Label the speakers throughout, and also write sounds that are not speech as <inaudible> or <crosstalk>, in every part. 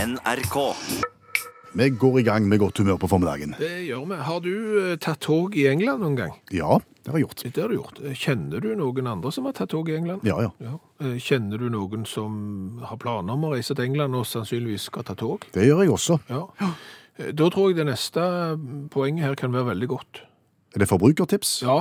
Speaker 1: NRK.
Speaker 2: Vi går i gang med godt humør på formiddagen.
Speaker 3: Det gjør vi. Har du eh, tatt tog i England noen gang?
Speaker 2: Ja, det har jeg gjort.
Speaker 3: Det har du gjort. Eh, Kjenner du noen andre som har tatt tog i England?
Speaker 2: Ja, ja.
Speaker 3: Eh, Kjenner du noen som har planer om å reise til England og sannsynligvis skal ta tog?
Speaker 2: Det gjør jeg også.
Speaker 3: Ja. Eh, Da tror jeg det neste poenget her kan være veldig godt.
Speaker 2: Er det forbrukertips? <laughs>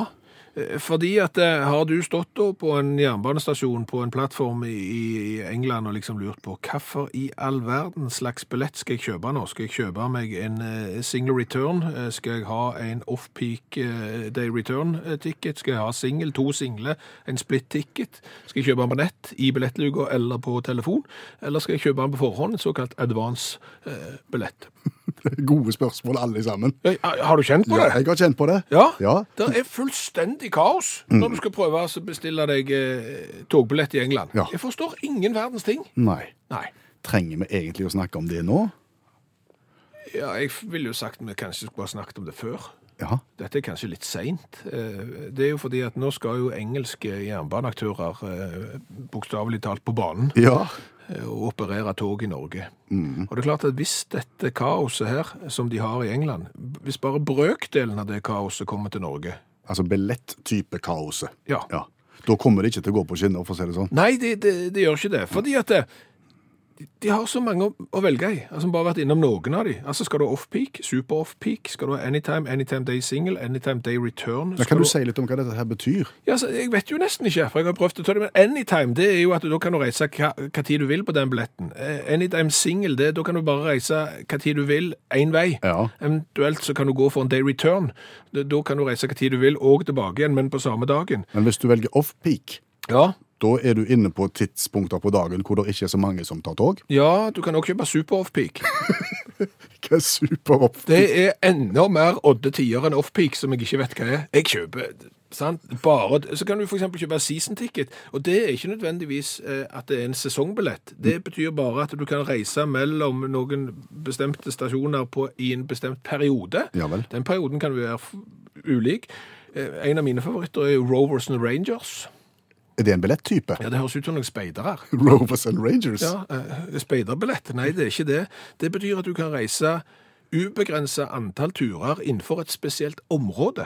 Speaker 3: Ja, eh, fordi at eh, har du stått da på en jernbanestasjon på en plattform i i England og liksom lurt på hvorfor i all verden slags billett skal jeg kjøpe nå? Skal jeg kjøpe meg en eh, single return? Eh, Skal jeg ha en off-peak eh, day return-ticket? Skal jeg ha single, to single, en split-ticket? Skal jeg kjøpe den på nett, i billettluka eller på telefon? Eller skal jeg kjøpe den på forhånd, en såkalt eh, advance-billett?
Speaker 2: Gode spørsmål, alle sammen.
Speaker 3: Har du kjent på
Speaker 2: Ja,
Speaker 3: det?
Speaker 2: jeg har kjent på det.
Speaker 3: Ja,
Speaker 2: Ja. Mm.
Speaker 3: det er fullstendig kaos når du skal prøve å bestille deg eh, togbillett i England.
Speaker 2: Ja.
Speaker 3: Jeg forstår ingen verdens ting.
Speaker 2: Nei.
Speaker 3: Nei.
Speaker 2: Trenger vi egentlig å snakke om det nå?
Speaker 3: Ja, jeg ville jo sagt vi kanskje skulle ha snakket om det før.
Speaker 2: Ja.
Speaker 3: Dette er kanskje litt seint. Eh, Det er jo fordi at nå skal jo engelske jernbaneaktører eh, bokstavelig talt på banen
Speaker 2: Ja.
Speaker 3: eh, og operere tog i Norge.
Speaker 2: Mm.
Speaker 3: Og det er klart at hvis dette kaoset her, som de har i England, hvis bare brøkdelen av det kaoset kommer til Norge,
Speaker 2: Altså billett-type kaoset.
Speaker 3: ja,
Speaker 2: Ja. Da kommer det ikke til å gå på skinner, for å si det sånn.
Speaker 3: Nei, det det- det gjør ikke det. Fordi at det, de har så mange å, å velge i. Altså, bare vært innom noen av de. Altså, skal du ha off-peak, super off-peak, skal du ha anytime, anytime day single, anytime day return.
Speaker 2: Da
Speaker 3: skal
Speaker 2: kan du si litt om hva dette her betyr.
Speaker 3: Ja, altså, jeg vet jo nesten ikke, for jeg har prøvd å ta det, men anytime, det er jo at du da kan du reise hva, hva tid du vil på den billetten. Eh, Anytime single, det er- da kan du bare reise hva tid du vil, en vei.
Speaker 2: Ja.
Speaker 3: Eventuelt så kan du gå for en day return. Da- Da kan du reise hva tid du vil, og tilbake igjen, men på samme dagen.
Speaker 2: Men hvis du velger off-peak,
Speaker 3: Ja,
Speaker 2: da er du inne på tidspunkter på dagen hvor det ikke er så mange som tar tog.
Speaker 3: ja du kan også kjøpe super off-peak.
Speaker 2: Hva er super off?
Speaker 3: Det er enda mer odde tider enn off-peak, som jeg ikke vet hva er. Jeg kjøper, sant? Bare, så kan du for eksempel kjøpe season-ticket, og det er ikke nødvendigvis eh, at det er en sesongbillett. Det betyr bare at du kan reise mellom noen bestemte stasjoner på, i en bestemt periode.
Speaker 2: Ja vel.
Speaker 3: Den perioden kan være f- ulik. Eh, En av mine favoritter er jo Rovers and Rangers.
Speaker 2: Er det en billett-type?
Speaker 3: <laughs> Ja, det høres ut som noen speidere.
Speaker 2: Rovers and Rangers?
Speaker 3: Ja, eh, speiderbillett. Nei, det er ikke det. Det betyr at du kan reise ubegrenset antall turer innenfor et spesielt område.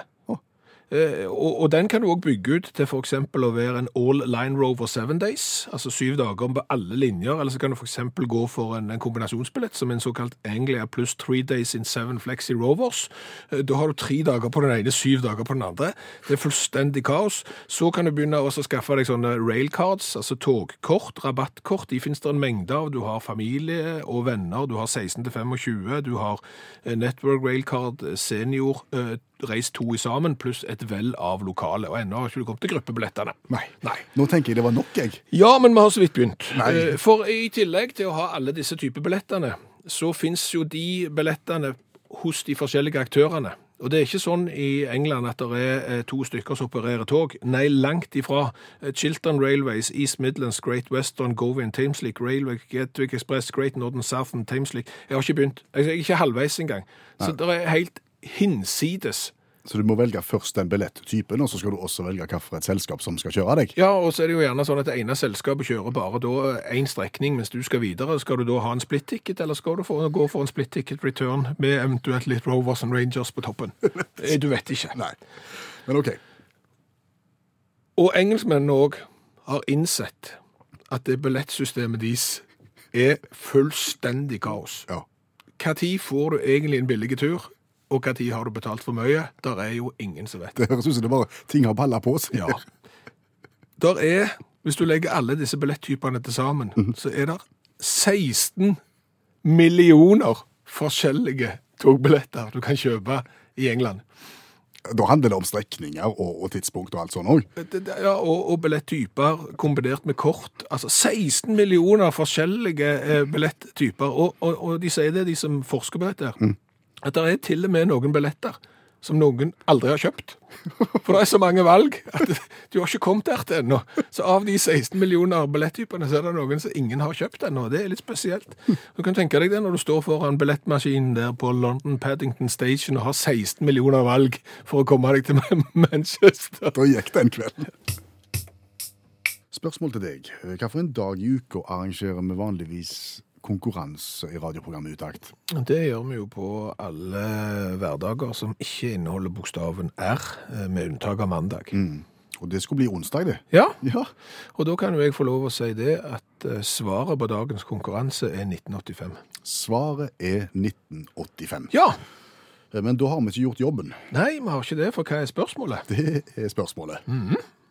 Speaker 3: Eh, Og, og den kan du også bygge ut til for eksempel å være en all line rover seven days, altså syv dager på alle linjer, eller så kan du for eksempel gå for en, en kombinasjonsbillett som en såkalt Anglia pluss three days in seven flexi rovers. Eh, Da har du tre dager på den ene, syv dager på den andre. Det er fullstendig kaos. Så kan du begynne også å skaffe deg sånne railcards, altså togkort, rabattkort, de finnes det en mengde av. Du har familie og venner, du har 16 til 25, du har eh, network railcard, eh, senior, eh, reis to i sammen, pluss et vell av lokale. Og ennå har ikke du kommet til gruppebillettene.
Speaker 2: Nei.
Speaker 3: Nei.
Speaker 2: Nå tenker jeg det var nok, jeg.
Speaker 3: Ja, men vi har så vidt begynt.
Speaker 2: Nei.
Speaker 3: Eh, For i tillegg til å ha alle disse typer billettene, så finnes jo de billettene hos de forskjellige aktørene. Og det er ikke sånn i England at det er eh, to stykker som opererer tog. Nei, langt ifra. Eh, Chiltern Railways, East Midlands, Great Western, Govan, Thamesleak, Railway, Gatwick Express, Great Northern, Southern, Thamesleak. Jeg har ikke begynt. Jeg er ikke halvveis engang. Så det er helt hinsides
Speaker 2: Så du må velge først den billett-typen, og så skal du også velge hvilket selskap som skal kjøre deg.
Speaker 3: Ja, og så er det jo gjerne sånn at det ene selskapet kjører bare da én strekning, mens du skal videre. Skal du da ha en split-ticket, eller skal du få, gå for en split-ticket return med eventuelt litt Rovers and Rangers på
Speaker 2: <laughs>
Speaker 3: toppen? Eh, Du vet ikke.
Speaker 2: Nei. Men OK.
Speaker 3: Og engelskmennene òg har innsett at det billettsystemet deres er fullstendig kaos.
Speaker 2: Ja. <laughs>
Speaker 3: Når får du egentlig en billig tur, og når har du betalt for mye? Der er jo ingen som vet.
Speaker 2: Det høres ut som det bare ting har balla på seg.
Speaker 3: <laughs> Ja. Der er, hvis du legger alle disse billetttypene til sammen, så er det 16 millioner forskjellige togbilletter du kan kjøpe i England.
Speaker 2: Da handler det om strekninger og, og tidspunkt og alt sånt òg.
Speaker 3: Det- det- Ja, og, og billetttyper kombinert med kort. Altså 16 millioner forskjellige eh, billetttyper. Og, og, og de sier det, de som forsker på dette, her, at det er til og med noen billetter som noen aldri har kjøpt. For det er så mange valg at <laughs> du har ikke kommet der til ennå. Så av de 16 millioner billetttypene, så er det noen som ingen har kjøpt ennå. Det er litt spesielt. Du kan tenke deg det når du står foran billettmaskinen der på London Paddington Station og har 16 millioner valg for å komme deg til <laughs> Manchester.
Speaker 2: Da gikk den kvelden. Spørsmål til deg. Hvilken dag i uka arrangerer vi vanligvis konkurranse i radioprogrammet Utakt.
Speaker 3: Det gjør vi jo på alle hverdager som ikke inneholder bokstaven R, eh, med unntak av mandag.
Speaker 2: Mm. Og det skulle bli onsdag, det.
Speaker 3: Ja,
Speaker 2: Ja.
Speaker 3: og da kan jo jeg få lov å si det at eh, svaret på dagens konkurranse er 1985.
Speaker 2: Svaret er 1985.
Speaker 3: Ja!
Speaker 2: Men da har vi ikke gjort jobben. <laughs>
Speaker 3: Nei, vi har ikke det, for hva er spørsmålet?
Speaker 2: Det er spørsmålet.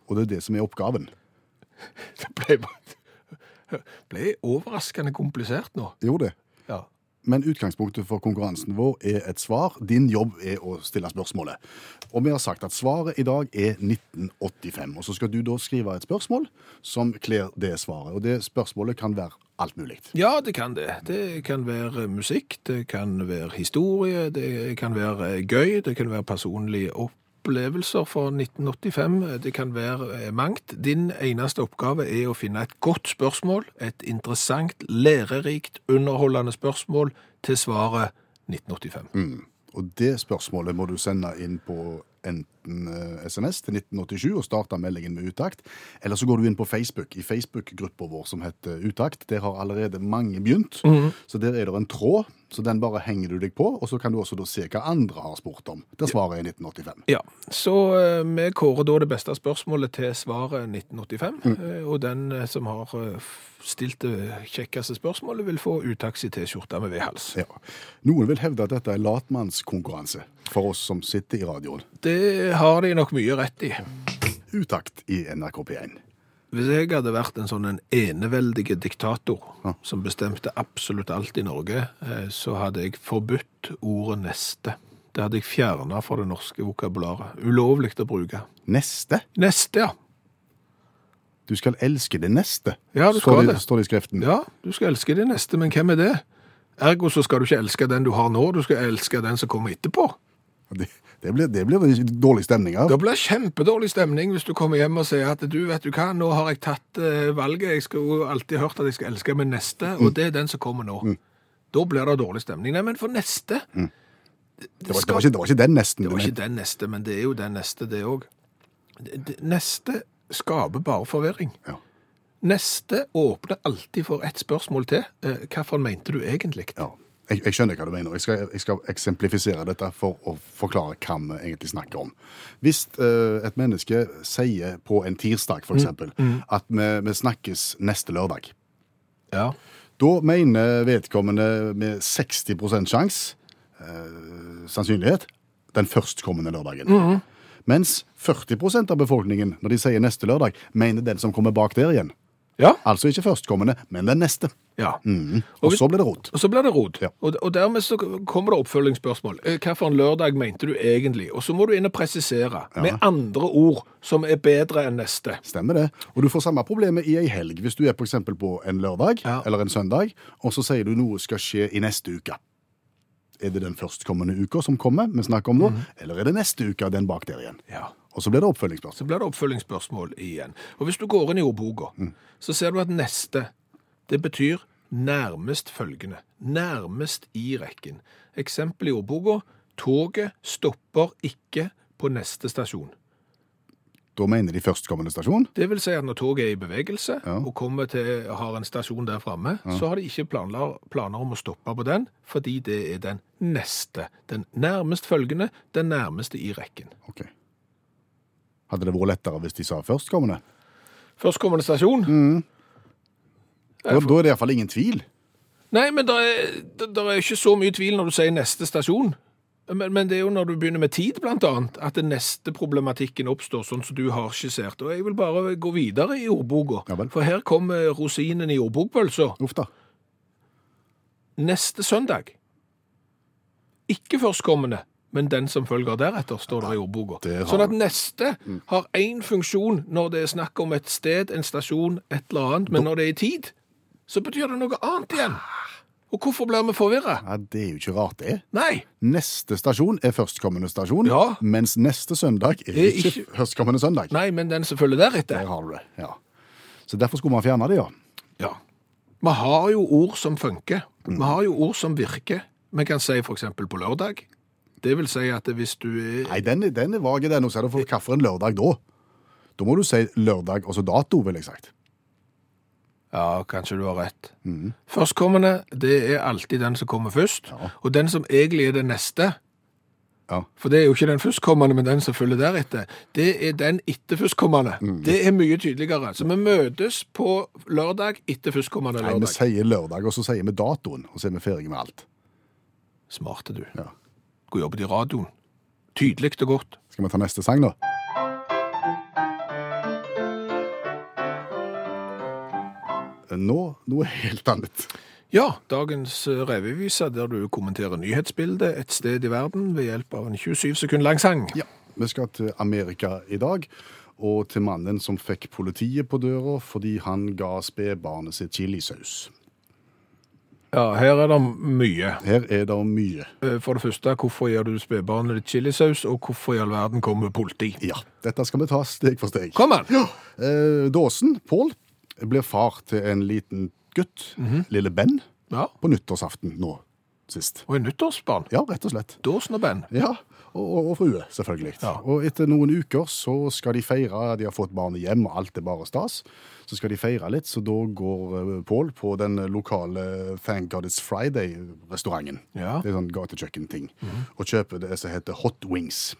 Speaker 2: Og det er det som er oppgaven.
Speaker 3: Det ble, bare- ble overraskende komplisert nå.
Speaker 2: Jo, det.
Speaker 3: Ja.
Speaker 2: Men utgangspunktet for konkurransen vår er et svar. Din jobb er å stille spørsmålet. Og vi har sagt at svaret i dag er 1985. Og så skal du da skrive et spørsmål som kler det svaret. Og det spørsmålet kan være alt mulig.
Speaker 3: Ja, det kan det. Det kan være musikk, det kan være historie, det kan være eh, gøy, det kan være personlige opplevelser fra 1985, det kan være eh, mangt. Din eneste oppgave er å finne et godt spørsmål, et interessant, lærerikt, underholdende spørsmål til svaret 1985.
Speaker 2: Og det spørsmålet må du sende inn på enten eh, SMS til 1987 og starte meldingen med utakt, eller så går du inn på Facebook, i Facebook-gruppa vår som heter Utakt. Der har allerede mange begynt,
Speaker 3: Mhm.
Speaker 2: så der er det en tråd, så den bare henger du deg på, og så kan du også da se hva andre har spurt om. Der svaret er 1985.
Speaker 3: Ja, så eh, vi kårer da det beste spørsmålet til svaret 1985, eh, og den eh, som har eh, f- stilt det kjekkeste spørsmålet vil få uttaks i t-skjorta med vedhals.
Speaker 2: Ja. Noen vil hevde at dette er latmannskonkurranse for oss som sitter i radioen.
Speaker 3: Det har de nok mye rett i.
Speaker 2: Utakt i NRK P1.
Speaker 3: Hvis jeg hadde vært en sånn en eneveldige diktator
Speaker 2: Ja.
Speaker 3: som bestemte absolutt alt i Norge, eh, så hadde jeg forbudt ordet neste. Det hadde jeg fjerna fra det norske vokabularet. Ulovlig å bruke.
Speaker 2: Neste.
Speaker 3: Neste, ja.
Speaker 2: Du skal elske det neste,
Speaker 3: Ja, du
Speaker 2: står,
Speaker 3: skal
Speaker 2: det,
Speaker 3: det.
Speaker 2: står det i skriften.
Speaker 3: Ja, du skal elske din neste, men hvem er det? Ergo så skal du ikke elske den du har nå, du skal elske den som kommer etterpå.
Speaker 2: Det, det, blir, det blir en dårlig stemning av.
Speaker 3: Det blir kjempedårlig stemning hvis du kommer hjem og sier at du vet du hva, nå har jeg tatt eh, valget, jeg skulle jo alltid hørt at jeg skal elske min neste, og det er den som kommer nå.
Speaker 2: Mm.
Speaker 3: Da blir det dårlig stemning. Nei, men for neste
Speaker 2: Det var, det, var ikke, det var ikke den nesten.
Speaker 3: Det var
Speaker 2: du
Speaker 3: ikke den neste, men det er jo den neste, det òg. Det- det- Neste skaper bare forvirring.
Speaker 2: Ja.
Speaker 3: Neste åpner alltid for ett spørsmål til. Eh, Hvilken mente du egentlig?
Speaker 2: Ja. Jeg, jeg skjønner hva du mener. Jeg skal, jeg skal eksemplifisere dette for å forklare hva vi egentlig snakker om. Hvis eh, et menneske sier på en tirsdag,
Speaker 3: Mm.
Speaker 2: for eksempel, at vi, vi snakkes neste lørdag,
Speaker 3: Ja.
Speaker 2: da mener vedkommende med 60 sjanse, eh, sannsynlighet, den førstkommende lørdagen.
Speaker 3: Mm.
Speaker 2: Mens 40 av befolkningen, når de sier neste lørdag, mener den som kommer bak der igjen.
Speaker 3: Ja.
Speaker 2: Altså ikke førstkommende, men den neste.
Speaker 3: ja.
Speaker 2: Mhm.
Speaker 3: Og
Speaker 2: Og
Speaker 3: hvis-
Speaker 2: så blir det rot.
Speaker 3: Og så blir det rot.
Speaker 2: Ja.
Speaker 3: Og, og dermed så kommer det oppfølgingsspørsmål. Eh, Hva for en lørdag mente du egentlig? Og så må du inn og presisere med andre ord som er bedre enn neste.
Speaker 2: Stemmer det. Og du får samme problemet i ei helg. Hvis du er for eksempel på en lørdag
Speaker 3: Ja.
Speaker 2: eller en søndag, og så sier du noe skal skje i neste uke. Er det den førstkommende uka som kommer, vi snakker om nå,
Speaker 3: Mhm.
Speaker 2: eller er det neste uke den bak der igjen?
Speaker 3: Ja.
Speaker 2: Og så blir det oppfølgingsspørsmål.
Speaker 3: Så blir det oppfølgingsspørsmål igjen. Og hvis du går inn i ordboka, så ser du at neste, det betyr nærmest følgende. Nærmest i rekken. Eksempel i ordboka, toget stopper ikke på neste stasjon.
Speaker 2: Da mener de førstkommende stasjon.
Speaker 3: Det vil si at når toget er i bevegelse
Speaker 2: Ja.
Speaker 3: og kommer til, har en stasjon der framme, så har de ikke planla- planer om å stoppe på den, fordi det er den neste. Den nærmest følgende, den nærmeste i rekken.
Speaker 2: Ok. Hadde det vært lettere hvis de sa førstkommende?
Speaker 3: Førstkommende stasjon.
Speaker 2: Da, da er det iallfall ingen tvil.
Speaker 3: Nei, men det er, der- der er ikke så mye tvil når du sier neste stasjon. Men, men det er jo når du begynner med tid, blant annet, at den neste problematikken oppstår, sånn som du har skissert. Og jeg vil bare gå videre i ordboka.
Speaker 2: Ja vel.
Speaker 3: For her kommer rosinen i ordbokpølsa.
Speaker 2: Uff da.
Speaker 3: neste søndag. Ikke førstkommende, men den som følger deretter, står det i ordboka.
Speaker 2: det har- Mm.
Speaker 3: Sånn at neste har én funksjon når det er snakk om et sted, en stasjon, et eller annet, men når det er i tid, så betyr det noe annet igjen.
Speaker 2: Ah.
Speaker 3: Og hvorfor blir vi forvirra?
Speaker 2: Ja, det er jo ikke rart, det.
Speaker 3: Nei,
Speaker 2: Neste stasjon er førstkommende stasjon,
Speaker 3: Ja.
Speaker 2: mens neste søndag er
Speaker 3: Det er
Speaker 2: ikke førstkommende søndag.
Speaker 3: nei, men den som følger deretter.
Speaker 2: Der har du det, ja. Så derfor skulle man fjerne det, ja.
Speaker 3: Ja. Vi har jo ord som funker.
Speaker 2: Mm.
Speaker 3: Vi har jo ord som virker. Vi kan si for eksempel på lørdag. Det vil si at hvis du er
Speaker 2: Nei, den, er- den er vag i den, og så er det for hva for en lørdag da? Da må du si lørdag, og så dato, vil jeg sagt.
Speaker 3: Ja, kanskje du har rett.
Speaker 2: Mhm.
Speaker 3: Førstkommende, det er alltid den som kommer først. Og den som egentlig er den neste,
Speaker 2: Ja.
Speaker 3: for det er jo ikke den førstkommende, men den som følger deretter, det er den etter førstkommende.
Speaker 2: Mhm.
Speaker 3: Det er mye tydeligere. Så vi møtes på lørdag etter førstkommende
Speaker 2: Nei, vi
Speaker 3: lørdag.
Speaker 2: sier lørdag, og så sier vi datoen, og så er vi ferdige med alt.
Speaker 3: Smarte du.
Speaker 2: Ja.
Speaker 3: God jobbet i radioen. Tydelig og godt.
Speaker 2: Skal vi ta neste sang, da? Nå noe helt annet.
Speaker 3: Ja, dagens eh, revyvise der du kommenterer nyhetsbildet et sted i verden ved hjelp av en 27 sekund lang sang.
Speaker 2: Ja, Vi skal til Amerika i dag, og til mannen som fikk politiet på døra fordi han ga spedbarnet sitt chilisaus.
Speaker 3: Ja, her er det mye.
Speaker 2: Her er det mye.
Speaker 3: Eh, For det første, hvorfor gir du spedbarnet ditt chilisaus, og hvorfor i all verden kommer politi?
Speaker 2: Ja, dette skal vi ta steg for steg.
Speaker 3: Kom an!
Speaker 2: Ja, eh, Dåsen, Pål, blir far til en liten gutt, lille Ben,
Speaker 3: Ja.
Speaker 2: på nyttårsaften nå sist.
Speaker 3: Og en nyttårsbarn.
Speaker 2: Ja, rett og slett.
Speaker 3: Dåsen og Ben.
Speaker 2: Ja, og, og, og frue, selvfølgelig.
Speaker 3: Ja.
Speaker 2: Og etter noen uker så skal de feire, de har fått barnet hjem, og alt er bare stas. Så skal de feire litt, så da går eh, Pål på den lokale Thank God It's Friday-restauranten.
Speaker 3: Ja. Mhm.
Speaker 2: Det er sånn gatekjøkken-ting. Og kjøper det som heter hot wings.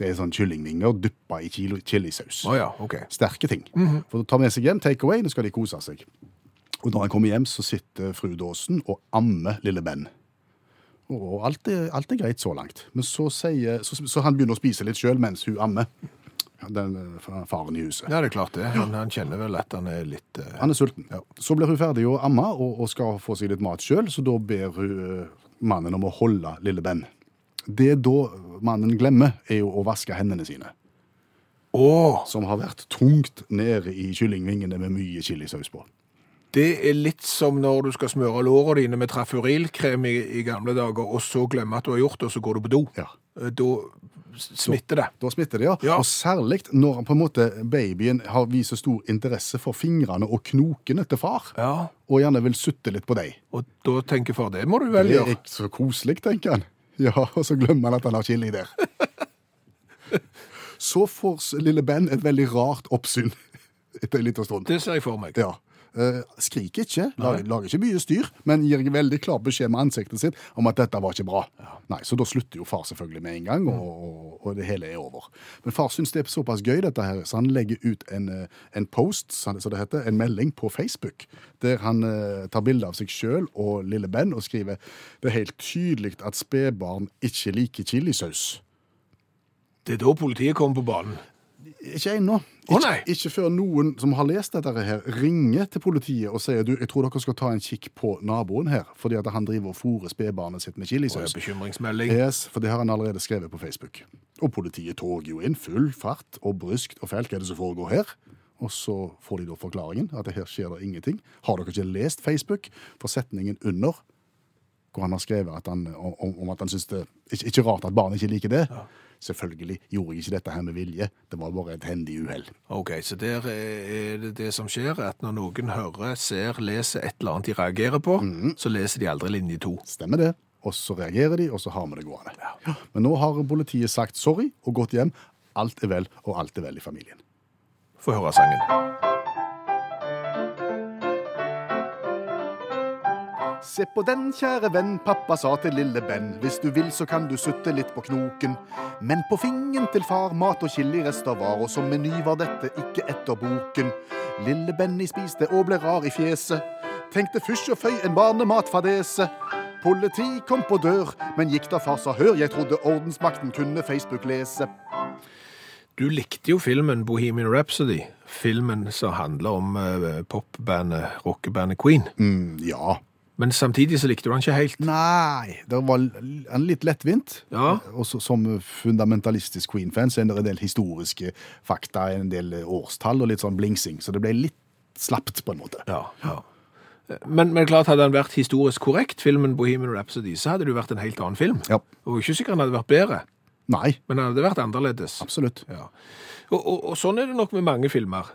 Speaker 2: Det er sånn kyllingvinger dyppa i kilo- chilisaus.
Speaker 3: Å ja, ok.
Speaker 2: Sterke ting. For å ta med seg hjem, take away, nå skal de kose seg. Og når han kommer hjem, så sitter fru Dåsen og ammer lille Ben. Og alt er, alt er greit så langt. Men så, sier, så, så han begynner å spise litt sjøl mens hun ammer. Den eh, fa- faren i huset.
Speaker 3: Ja, det er klart det. Han, han kjenner vel at han er litt eh,
Speaker 2: Han er sulten. Så blir hun ferdig å amme og, og skal få seg litt mat sjøl, så da ber hun eh, mannen om å holde lille Ben. Det da mannen glemmer, er jo å vaske hendene sine.
Speaker 3: Å!
Speaker 2: Som har vært tungt nede i kyllingvingene med mye chilisaus på.
Speaker 3: Det er litt som når du skal smøre lårene dine med trafurilkrem i, i gamle dager, og så glemme at du har gjort det, og så går du på do.
Speaker 2: Ja.
Speaker 3: Eh, Da s- smitter det.
Speaker 2: Da smitter det, ja.
Speaker 3: Ja.
Speaker 2: Og særlig når han på en måte babyen har viser stor interesse for fingrene og knokene til far,
Speaker 3: Ja.
Speaker 2: og gjerne vil sutte litt på dem.
Speaker 3: Og da tenker far, det må du vel
Speaker 2: Det er
Speaker 3: gjøre.
Speaker 2: ikke så koselig, tenker han. Ja, og så glemmer han at han har chili
Speaker 3: <laughs>
Speaker 2: der. Så får s- lille Ben et veldig rart oppsyn etter en liten stund.
Speaker 3: Det ser jeg for meg.
Speaker 2: Ja. Eh, Skriker ikke, lager, lager ikke mye styr, men gir veldig klar beskjed med ansiktet sitt om at dette var ikke bra. Nei, Så da slutter jo far selvfølgelig med en gang, og, og, og det hele er over. Men far syns det er såpass gøy, dette her, så han legger ut en, eh, en post, som det heter, en melding på Facebook, der han eh, tar bilde av seg sjøl og lille Ben og skriver det er helt tydelig at spedbarn ikke liker chilisaus.
Speaker 3: Det er da politiet kommer på banen.
Speaker 2: Ikke ennå.
Speaker 3: Å,
Speaker 2: Ikke,
Speaker 3: nei.
Speaker 2: ikke før noen som har lest dette her, ringer til politiet og sier du, jeg tror dere skal ta en kikk på naboen her, fordi at han driver og fôrer spedbarnet sitt med
Speaker 3: Og en
Speaker 2: chilisaus.
Speaker 3: bekymringsmelding.
Speaker 2: Yes, for det har han allerede skrevet på Facebook. Og politiet toger jo inn full fart og bryskt og fælt. Hva er det som foregår her? Og så får de da forklaringen at det her skjer det ingenting. Har dere ikke lest Facebook? For setningen under, hvor han har skrevet at han, om, om at han syns det ikke, ikke rart at barnet ikke liker det. Selvfølgelig gjorde jeg ikke dette her med vilje. Det var bare et hendig uhell.
Speaker 3: Ok, så der eh, er det det som skjer, at når noen hører, ser, leser et eller annet de reagerer på, så leser de aldri linje to.
Speaker 2: Stemmer det. Og så reagerer de, og så har vi det gående. Ja. Men nå har politiet sagt sorry og gått hjem. Alt er vel, og alt er vel i familien.
Speaker 3: Få høre sangen.
Speaker 2: Se på den, kjære venn, pappa sa til lille Ben. Hvis du vil, så kan du sutte litt på knoken. Men på fingen til far mat og chilirester var, og som meny var dette ikke etter boken. Lille Benny spiste og ble rar i fjeset. Tenkte fysj og føy en barnematfadese. Politi kom på dør, men gikk da far sa hør, jeg trodde ordensmakten kunne Facebook lese.
Speaker 3: Du likte jo filmen Bohemian Rhapsody, filmen som handler om eh, popbandet, rockebandet Queen.
Speaker 2: mm, ja.
Speaker 3: Men samtidig så likte du den ikke helt.
Speaker 2: Nei, det var l- han er litt lettvint.
Speaker 3: Ja.
Speaker 2: Og så- som fundamentalistisk Queen-fan så er det en del historiske fakta, en del årstall og litt sånn blingsing. Så det ble litt slapt, på en måte.
Speaker 3: Ja, ja. Eh, Men, men klart hadde den vært historisk korrekt, filmen Bohemian Rhapsody, så hadde det jo vært en helt annen film.
Speaker 2: Ja.
Speaker 3: Og ikke sikkert den hadde vært bedre,
Speaker 2: Nei,
Speaker 3: men den hadde vært annerledes.
Speaker 2: absolutt.
Speaker 3: Ja. Og, og, og sånn er det nok med mange filmer.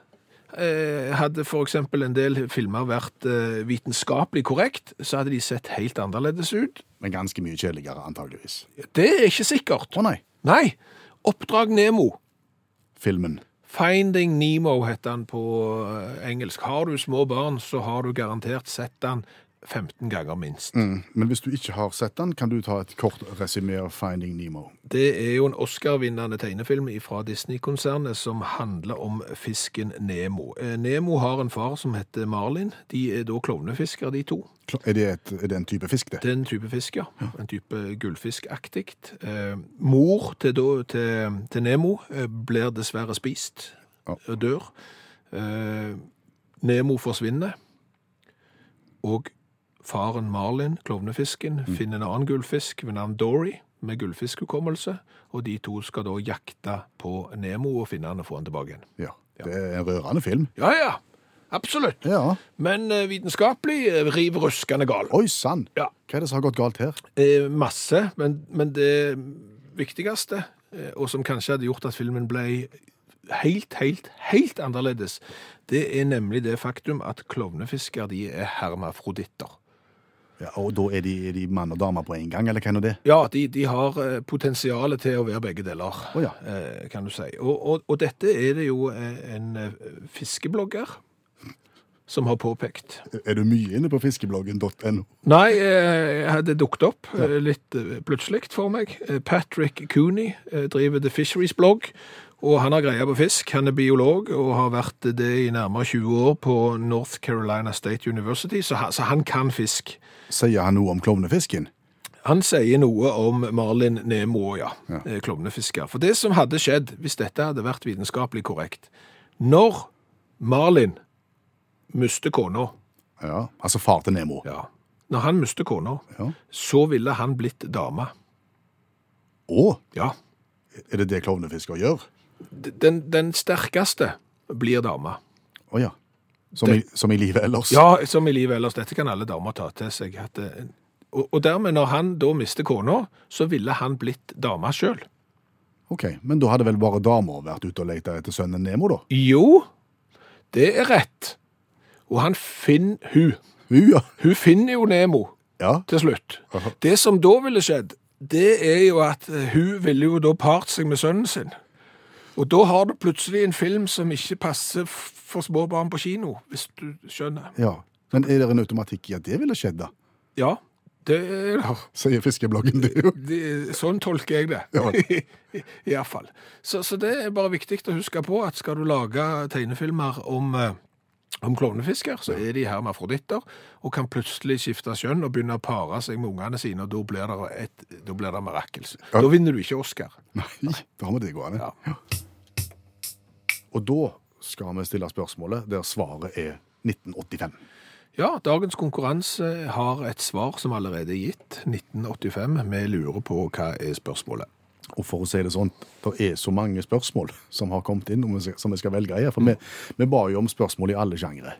Speaker 3: Eh, hadde for eksempel en del filmer vært eh, vitenskapelig korrekt, så hadde de sett helt annerledes ut.
Speaker 2: Men ganske mye kjedeligere, antageligvis.
Speaker 3: Det er ikke sikkert.
Speaker 2: Å nei,
Speaker 3: Nei, Oppdrag Nemo,
Speaker 2: filmen.
Speaker 3: Finding Nemo heter han på eh, engelsk. Har du små barn, så har du garantert sett han 15 ganger minst.
Speaker 2: Mm. Men hvis du ikke har sett den, kan du ta et kort resymé av Finding Nemo.
Speaker 3: Det er jo en Oscar-vinnende tegnefilm fra Disney-konsernet som handler om fisken Nemo. Eh, Nemo har en far som heter Marlin. De er da klovnefiskere, de to.
Speaker 2: Kla- Er det, et, er det en type fisk, det?
Speaker 3: Det er en type fisk, ja. En type gullfiskaktig. Eh, mor til, da, til, til Nemo eh, blir dessverre spist
Speaker 2: Ja.
Speaker 3: og dør. Eh, Nemo forsvinner, og faren Marlin, klovnefisken, finner en annen gullfisk ved navn Dory med gullfiskhukommelse, og de to skal da jakte på Nemo og finne han og få han tilbake igjen.
Speaker 2: Ja. Det er en rørende film.
Speaker 3: Ja, ja, absolutt.
Speaker 2: Ja.
Speaker 3: Men eh, vitenskapelig eh, riv ruskende gal.
Speaker 2: Oi sann!
Speaker 3: Ja.
Speaker 2: Hva er det som har gått galt her?
Speaker 3: Eh, masse, men, men det viktigste, eh, og som kanskje hadde gjort at filmen ble helt, helt, helt annerledes, det er nemlig det faktum at klovnefisker de er hermafroditter.
Speaker 2: Ja, og da er de, er de mann og dame på en gang, eller hva er nå det?
Speaker 3: Ja, de, de har eh, potensialet til å være begge deler,
Speaker 2: Å ja.
Speaker 3: eh, kan du si. Og, og, og dette er det jo eh, en eh, fiskeblogger som har påpekt.
Speaker 2: Er du mye inne på fiskebloggen.no?
Speaker 3: Nei, eh, jeg hadde dukt opp eh, litt eh, plutselig for meg. Eh, Patrick Cooney eh, driver The Fisheries Blog, og han har greia på fisk. Han er biolog og har vært det i nærmere 20 år på North Carolina State University, så han, så han kan fisk.
Speaker 2: Sier han noe om klovnefisken?
Speaker 3: Han sier noe om Marlin Nemo, ja,
Speaker 2: Ja.
Speaker 3: eh, klovnefisker. For det som hadde skjedd, hvis dette hadde vært vitenskapelig korrekt, når Marlin mister kona,
Speaker 2: Ja, altså far til Nemo.
Speaker 3: ja, når han mister kona,
Speaker 2: Ja.
Speaker 3: så ville han blitt dame.
Speaker 2: Å,
Speaker 3: Ja.
Speaker 2: er det det klovnefisker gjør?
Speaker 3: Den, den sterkeste blir dama.
Speaker 2: Å ja. Som, i, som i livet ellers?
Speaker 3: Ja, som i livet ellers. Dette kan alle damer ta til seg. At, eh, og, og dermed, når han da mister kona, så ville han blitt dama sjøl.
Speaker 2: Ok, men da hadde vel bare damer vært ute og leita etter sønnen Nemo, da?
Speaker 3: Jo, det er rett. Og han finner hun.
Speaker 2: Hun, ja.
Speaker 3: Hun finner jo Nemo
Speaker 2: Ja,
Speaker 3: til slutt.
Speaker 2: Aha.
Speaker 3: Det som da ville skjedd, det er jo at eh, hun ville jo da part seg med sønnen sin. Og da har du plutselig en film som ikke passer f- for små barn på kino, hvis du skjønner.
Speaker 2: ja. Men er det en automatikk i at det ville skjedd, da?
Speaker 3: Ja, det er det.
Speaker 2: Sier fiskebloggen, det
Speaker 3: <laughs>
Speaker 2: jo.
Speaker 3: Det, sånn tolker jeg det, I, <laughs> i hvert fall. Så, så det er bare viktig å huske på at skal du lage tegnefilmer om, eh, om klovnefisker, så er de hermafroditter og kan plutselig skifte kjønn og begynne å pare seg med ungene sine, og da blir det, et, da blir det mirakels.
Speaker 2: Ja.
Speaker 3: Da vinner du ikke Oscar.
Speaker 2: Nei, da har vi det gående.
Speaker 3: Ja.
Speaker 2: Og da skal vi stille spørsmålet der svaret er 1985.
Speaker 3: Ja, dagens konkurranse har et svar som allerede er gitt, 1985. Vi lurer på hva er spørsmålet.
Speaker 2: Og for å si det sånn, det er så mange spørsmål som har kommet inn, om vi skal- som vi skal velge her. For vi, vi ba jo om spørsmål i alle sjangre.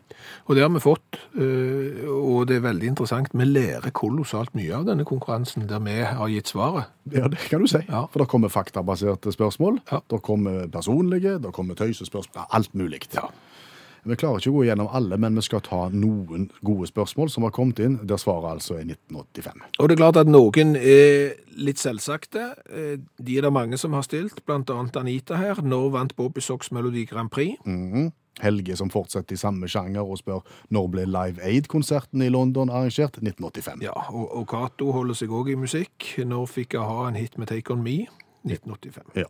Speaker 3: Og det har vi fått, eh, og det er veldig interessant. Vi lærer kolossalt mye av denne konkurransen der vi har gitt svaret.
Speaker 2: Ja, det kan du si.
Speaker 3: Ja.
Speaker 2: For det kommer faktabaserte spørsmål.
Speaker 3: Ja.
Speaker 2: Det kommer personlige, det kommer tøysespørsmål. ja, Alt mulig. Vi klarer ikke å gå gjennom alle, men vi skal ta noen gode spørsmål som har kommet inn, der svaret altså er 1985.
Speaker 3: Og det er klart at noen er litt selvsagte. Eh, De er det mange som har stilt, blant annet Anita her. Når vant Bobby Socks Melodi Grand Prix?
Speaker 2: Mhm. Helge som fortsetter i samme sjanger og spør når ble Live Aid-konserten i London arrangert? 1985.
Speaker 3: Ja, og, og Kato holder seg også i musikk. Når fikk jeg ha en hit med Take On Me? 1985.
Speaker 2: Ja.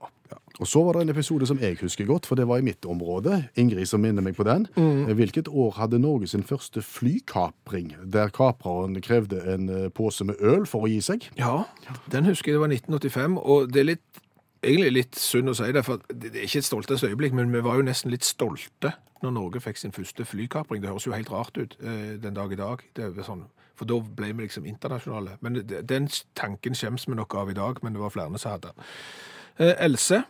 Speaker 2: Og så var det en episode som jeg husker godt, for det var i mitt område. Ingrid som minner meg på den.
Speaker 3: Mm.
Speaker 2: Eh, Hvilket år hadde Norge sin første flykapring, der kapreren krevde en eh, pose med øl for å gi seg?
Speaker 3: Ja, den husker jeg det var 1985, og det er litt, egentlig litt synd å si det, for det det er ikke et stoltes øyeblikk, men vi var jo nesten litt stolte når Norge fikk sin første flykapring. Det høres jo helt rart ut eh, den dag i dag, det er jo sånn, for da ble vi liksom internasjonale. Men det- den tanken skjems vi nok av i dag, men det var flere som hadde. den. Eh, Else,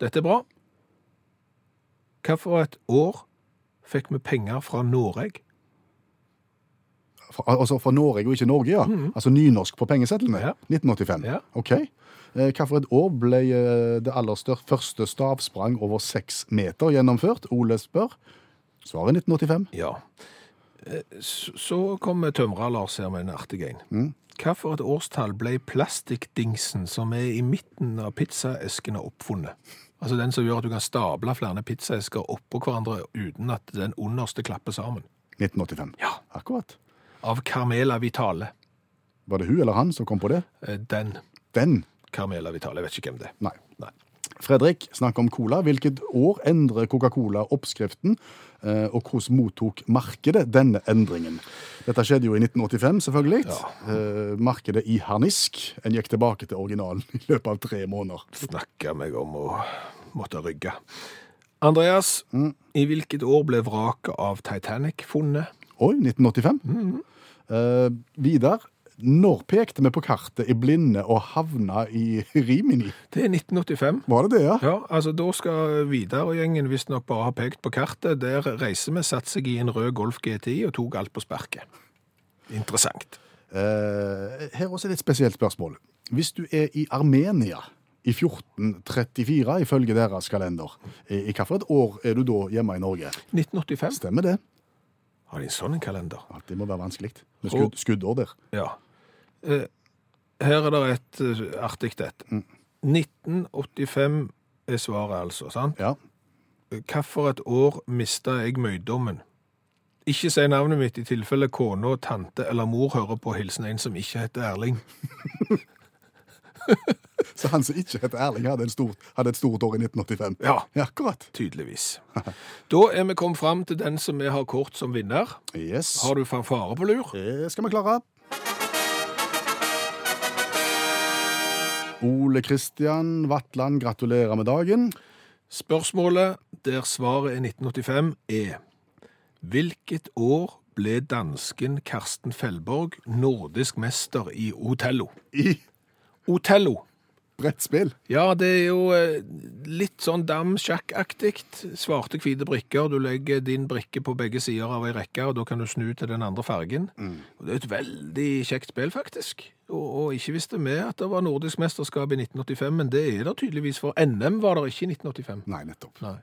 Speaker 3: dette er bra. Hva for et år fikk vi penger fra Noreg?
Speaker 2: Fra, altså fra Norge og ikke Norge, ja. Altså nynorsk på pengesettlene.
Speaker 3: Mm. Ja.
Speaker 2: 1985.
Speaker 3: Ja.
Speaker 2: Ok. Eh, Hva for et år ble eh, det aller stør- første stavsprang over seks meter gjennomført? Ole spør. Svaret er 1985.
Speaker 3: Ja. Eh, Så så kommer tømrer Lars her med en artig en. Hva for et årstall ble plastikkdingsen som er i midten av pizzaeskene oppfunnet? Altså den som gjør at du kan stable flere pizzaesker oppå hverandre uten at den underste klapper sammen.
Speaker 2: 1985.
Speaker 3: Ja.
Speaker 2: Akkurat.
Speaker 3: Av Carmela Vitale.
Speaker 2: Var det hun eller han som kom på det?
Speaker 3: Eh, Den
Speaker 2: Den.
Speaker 3: Carmela Vitale, jeg vet ikke hvem det er.
Speaker 2: Nei.
Speaker 3: Nei.
Speaker 2: Fredrik, snakk om cola. Hvilket år endrer Coca-Cola oppskriften, eh, og hvordan mottok markedet denne endringen? Dette skjedde jo i 1985, selvfølgelig. Eh, Markedet i harnisk. En gikk tilbake til originalen i løpet av tre måneder.
Speaker 3: Snakka meg om å måtte rygge. Andreas, i hvilket år ble vraket av Titanic funnet?
Speaker 2: Oi, 1985. Eh, Vidar, når pekte vi på kartet i blinde og havna i Rimini?
Speaker 3: Det er 1985.
Speaker 2: Var det det, ja?
Speaker 3: Ja, altså da skal Vidar-gjengen visstnok bare ha pekt på kartet. Der reiser vi, satte seg i en rød Golf GTI og tok alt på sparket. Interessant.
Speaker 2: Eh, her også er det et spesielt spørsmål. Hvis du er i Armenia i 1434, ifølge deres kalender, i i hvilket år er du da hjemme i Norge?
Speaker 3: 1985.
Speaker 2: Stemmer det?
Speaker 3: Har de en sånn en kalender?
Speaker 2: Ja, det må være vanskelig. Med skudd, skuddår der.
Speaker 3: Ja. Eh, Her er det et eh, artig et. 1985 er svaret, altså. sant?
Speaker 2: Ja.
Speaker 3: Hvilket år mista jeg møydommen? Ikke si navnet mitt i tilfelle kona, tante eller mor hører på hilsen en som ikke heter Erling.
Speaker 2: Så han som ikke heter Erling, hadde, en stor, hadde et stort år i 1985.
Speaker 3: Ja,
Speaker 2: Ja, akkurat.
Speaker 3: tydeligvis. Da er vi kommet fram til den som vi har kort som vinner.
Speaker 2: Yes.
Speaker 3: Har du fanfare på lur?
Speaker 2: Det skal vi klare. Ole Kristian Vatland, gratulerer med dagen.
Speaker 3: Spørsmålet, der svaret er 1985, er Hvilket år ble dansken Karsten Fellborg nordisk mester i Otello?
Speaker 2: I
Speaker 3: Otello.
Speaker 2: brettspill.
Speaker 3: Ja, det er jo eh, litt sånn dam-sjakk-aktig. Svarte, hvite brikker. Du legger din brikke på begge sider av ei rekke, og da kan du snu til den andre fargen. Og Det er et veldig kjekt spill, faktisk. Og, og ikke visste vi at det var nordisk mesterskap i 1985, men det er det tydeligvis, for NM var det ikke i 1985.
Speaker 2: Nei, nettopp.
Speaker 3: Nei.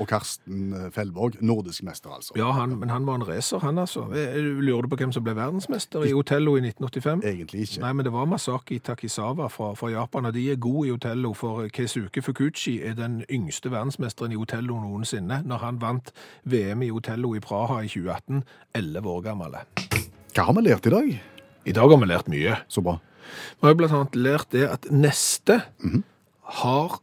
Speaker 2: Og Karsten Fellvåg, nordisk mester, altså.
Speaker 3: Ja, han, men han var en racer, han altså. Eh, Lurer du på hvem som ble verdensmester i Otello i 1985?
Speaker 2: Egentlig ikke.
Speaker 3: Nei, men det var Masaki Takisawa fra, fra Japan, og de er gode i Otello, for Keisuke Fukuchi er den yngste verdensmesteren i Otello noensinne, når han vant VM i Otello i Praha i 2018, 11 år gammel.
Speaker 2: Hva har vi lært i dag?
Speaker 3: I dag har vi lært mye.
Speaker 2: Så bra.
Speaker 3: Vi har jo blant annet lært det at neste har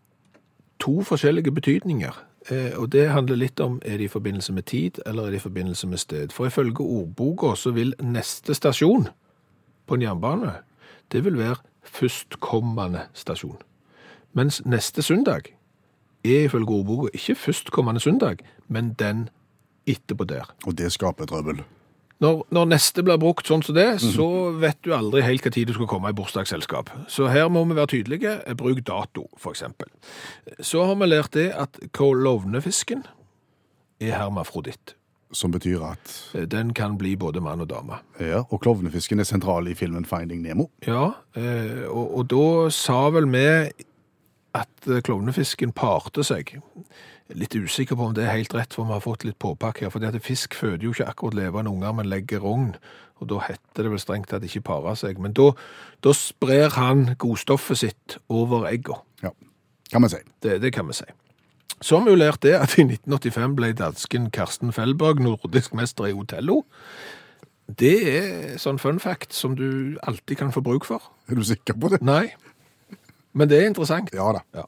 Speaker 3: to forskjellige betydninger. Eh, Og det handler litt om er det i forbindelse med tid, eller er det i forbindelse med sted. For ifølge ordboka så vil neste stasjon på en jernbane, det vil være førstkommende stasjon. Mens neste søndag er ifølge ordboka ikke førstkommende søndag, men den etterpå der.
Speaker 2: Og det skaper trøbbel.
Speaker 3: Når, når neste blir brukt sånn som det, så vet du aldri helt hva tid du skal komme i bursdagsselskap. Så her må vi være tydelige. Eh, Bruk dato, for eksempel. Så har vi lært det at kolovnefisken er hermafroditt. Eh,
Speaker 2: Som betyr at
Speaker 3: Den kan bli både mann og dame.
Speaker 2: Ja, og klovnefisken er sentral i filmen Finding Nemo.
Speaker 3: Ja, eh, og, og da sa vel vi at eh, klovnefisken parte seg. Litt usikker på om det er helt rett, for vi har fått litt påpakk her. For det at fisk føder jo ikke akkurat levende unger, men legger rogn. Og da heter det vel strengt tatt ikke pare seg. Men da, da sprer han godstoffet sitt over egga.
Speaker 2: Ja, kan man si.
Speaker 3: Det, det kan vi si. Så har vi jo lært det at i 1985 ble dansken Karsten Fellberg nordisk mester i Otello. Det er sånn fun fact som du alltid kan få bruk for.
Speaker 2: Er du sikker på det?
Speaker 3: Nei, men det er interessant.
Speaker 2: Ja da.
Speaker 3: Ja.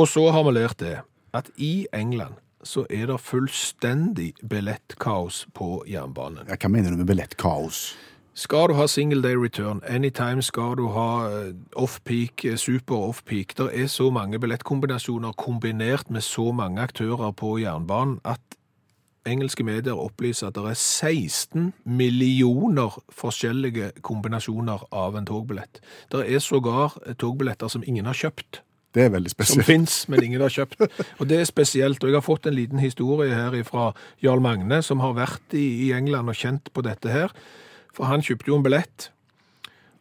Speaker 3: Og så har vi lært det, at i England så er det fullstendig billettkaos på jernbanen.
Speaker 2: Ja, hva mener du med billettkaos?
Speaker 3: Skal du ha single day return, anytime skal du ha eh, off-peak, eh, super off-peak, det er så mange billettkombinasjoner kombinert med så mange aktører på jernbanen at engelske medier opplyser at det er 16 millioner forskjellige kombinasjoner av en togbillett. Det er sågar eh, togbilletter som ingen har kjøpt
Speaker 2: Det er veldig
Speaker 3: som
Speaker 2: spesielt.
Speaker 3: fins, men ingen har kjøpt. Og det er spesielt. Og jeg har fått en liten historie her fra Jarl Magne, som har vært i, i England og kjent på dette her. For han kjøpte jo en billett,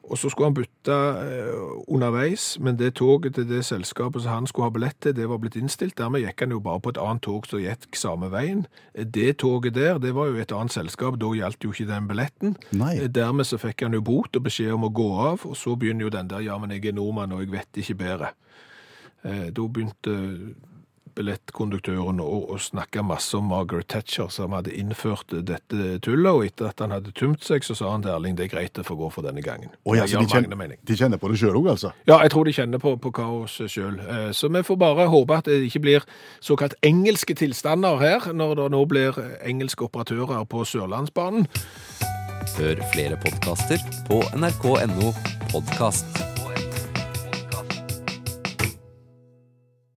Speaker 3: og så skulle han bytte eh, underveis, men det toget til det selskapet som han skulle ha billett til, det var blitt innstilt. Dermed gikk han jo bare på et annet tog som gikk samme veien. Det toget der, det var jo et annet selskap, da gjaldt jo ikke den billetten.
Speaker 2: Nei.
Speaker 3: Eh, Dermed så fikk han jo bot og beskjed om å gå av, og så begynner jo den der 'ja, men jeg er nordmann og jeg vet ikke bedre'. Eh, Da begynte billettkonduktøren og, og snakka masse om Margaret Thatcher, som hadde innført dette tullet. Og etter at han hadde tømt seg, så sa han til Erling det er greit, det får gå for denne gangen.
Speaker 2: Å ja,
Speaker 3: Det
Speaker 2: så
Speaker 3: er
Speaker 2: de
Speaker 3: Jarl Magne,
Speaker 2: kjenner,
Speaker 3: mener jeg.
Speaker 2: de kjenner på det sjøl òg, altså?
Speaker 3: Ja, jeg tror de kjenner på, på kaoset sjøl. Så vi får bare håpe at det ikke blir såkalt engelske tilstander her, når det nå blir engelske operatører på Sørlandsbanen.
Speaker 1: Hør flere podkaster på nrk.no podkast.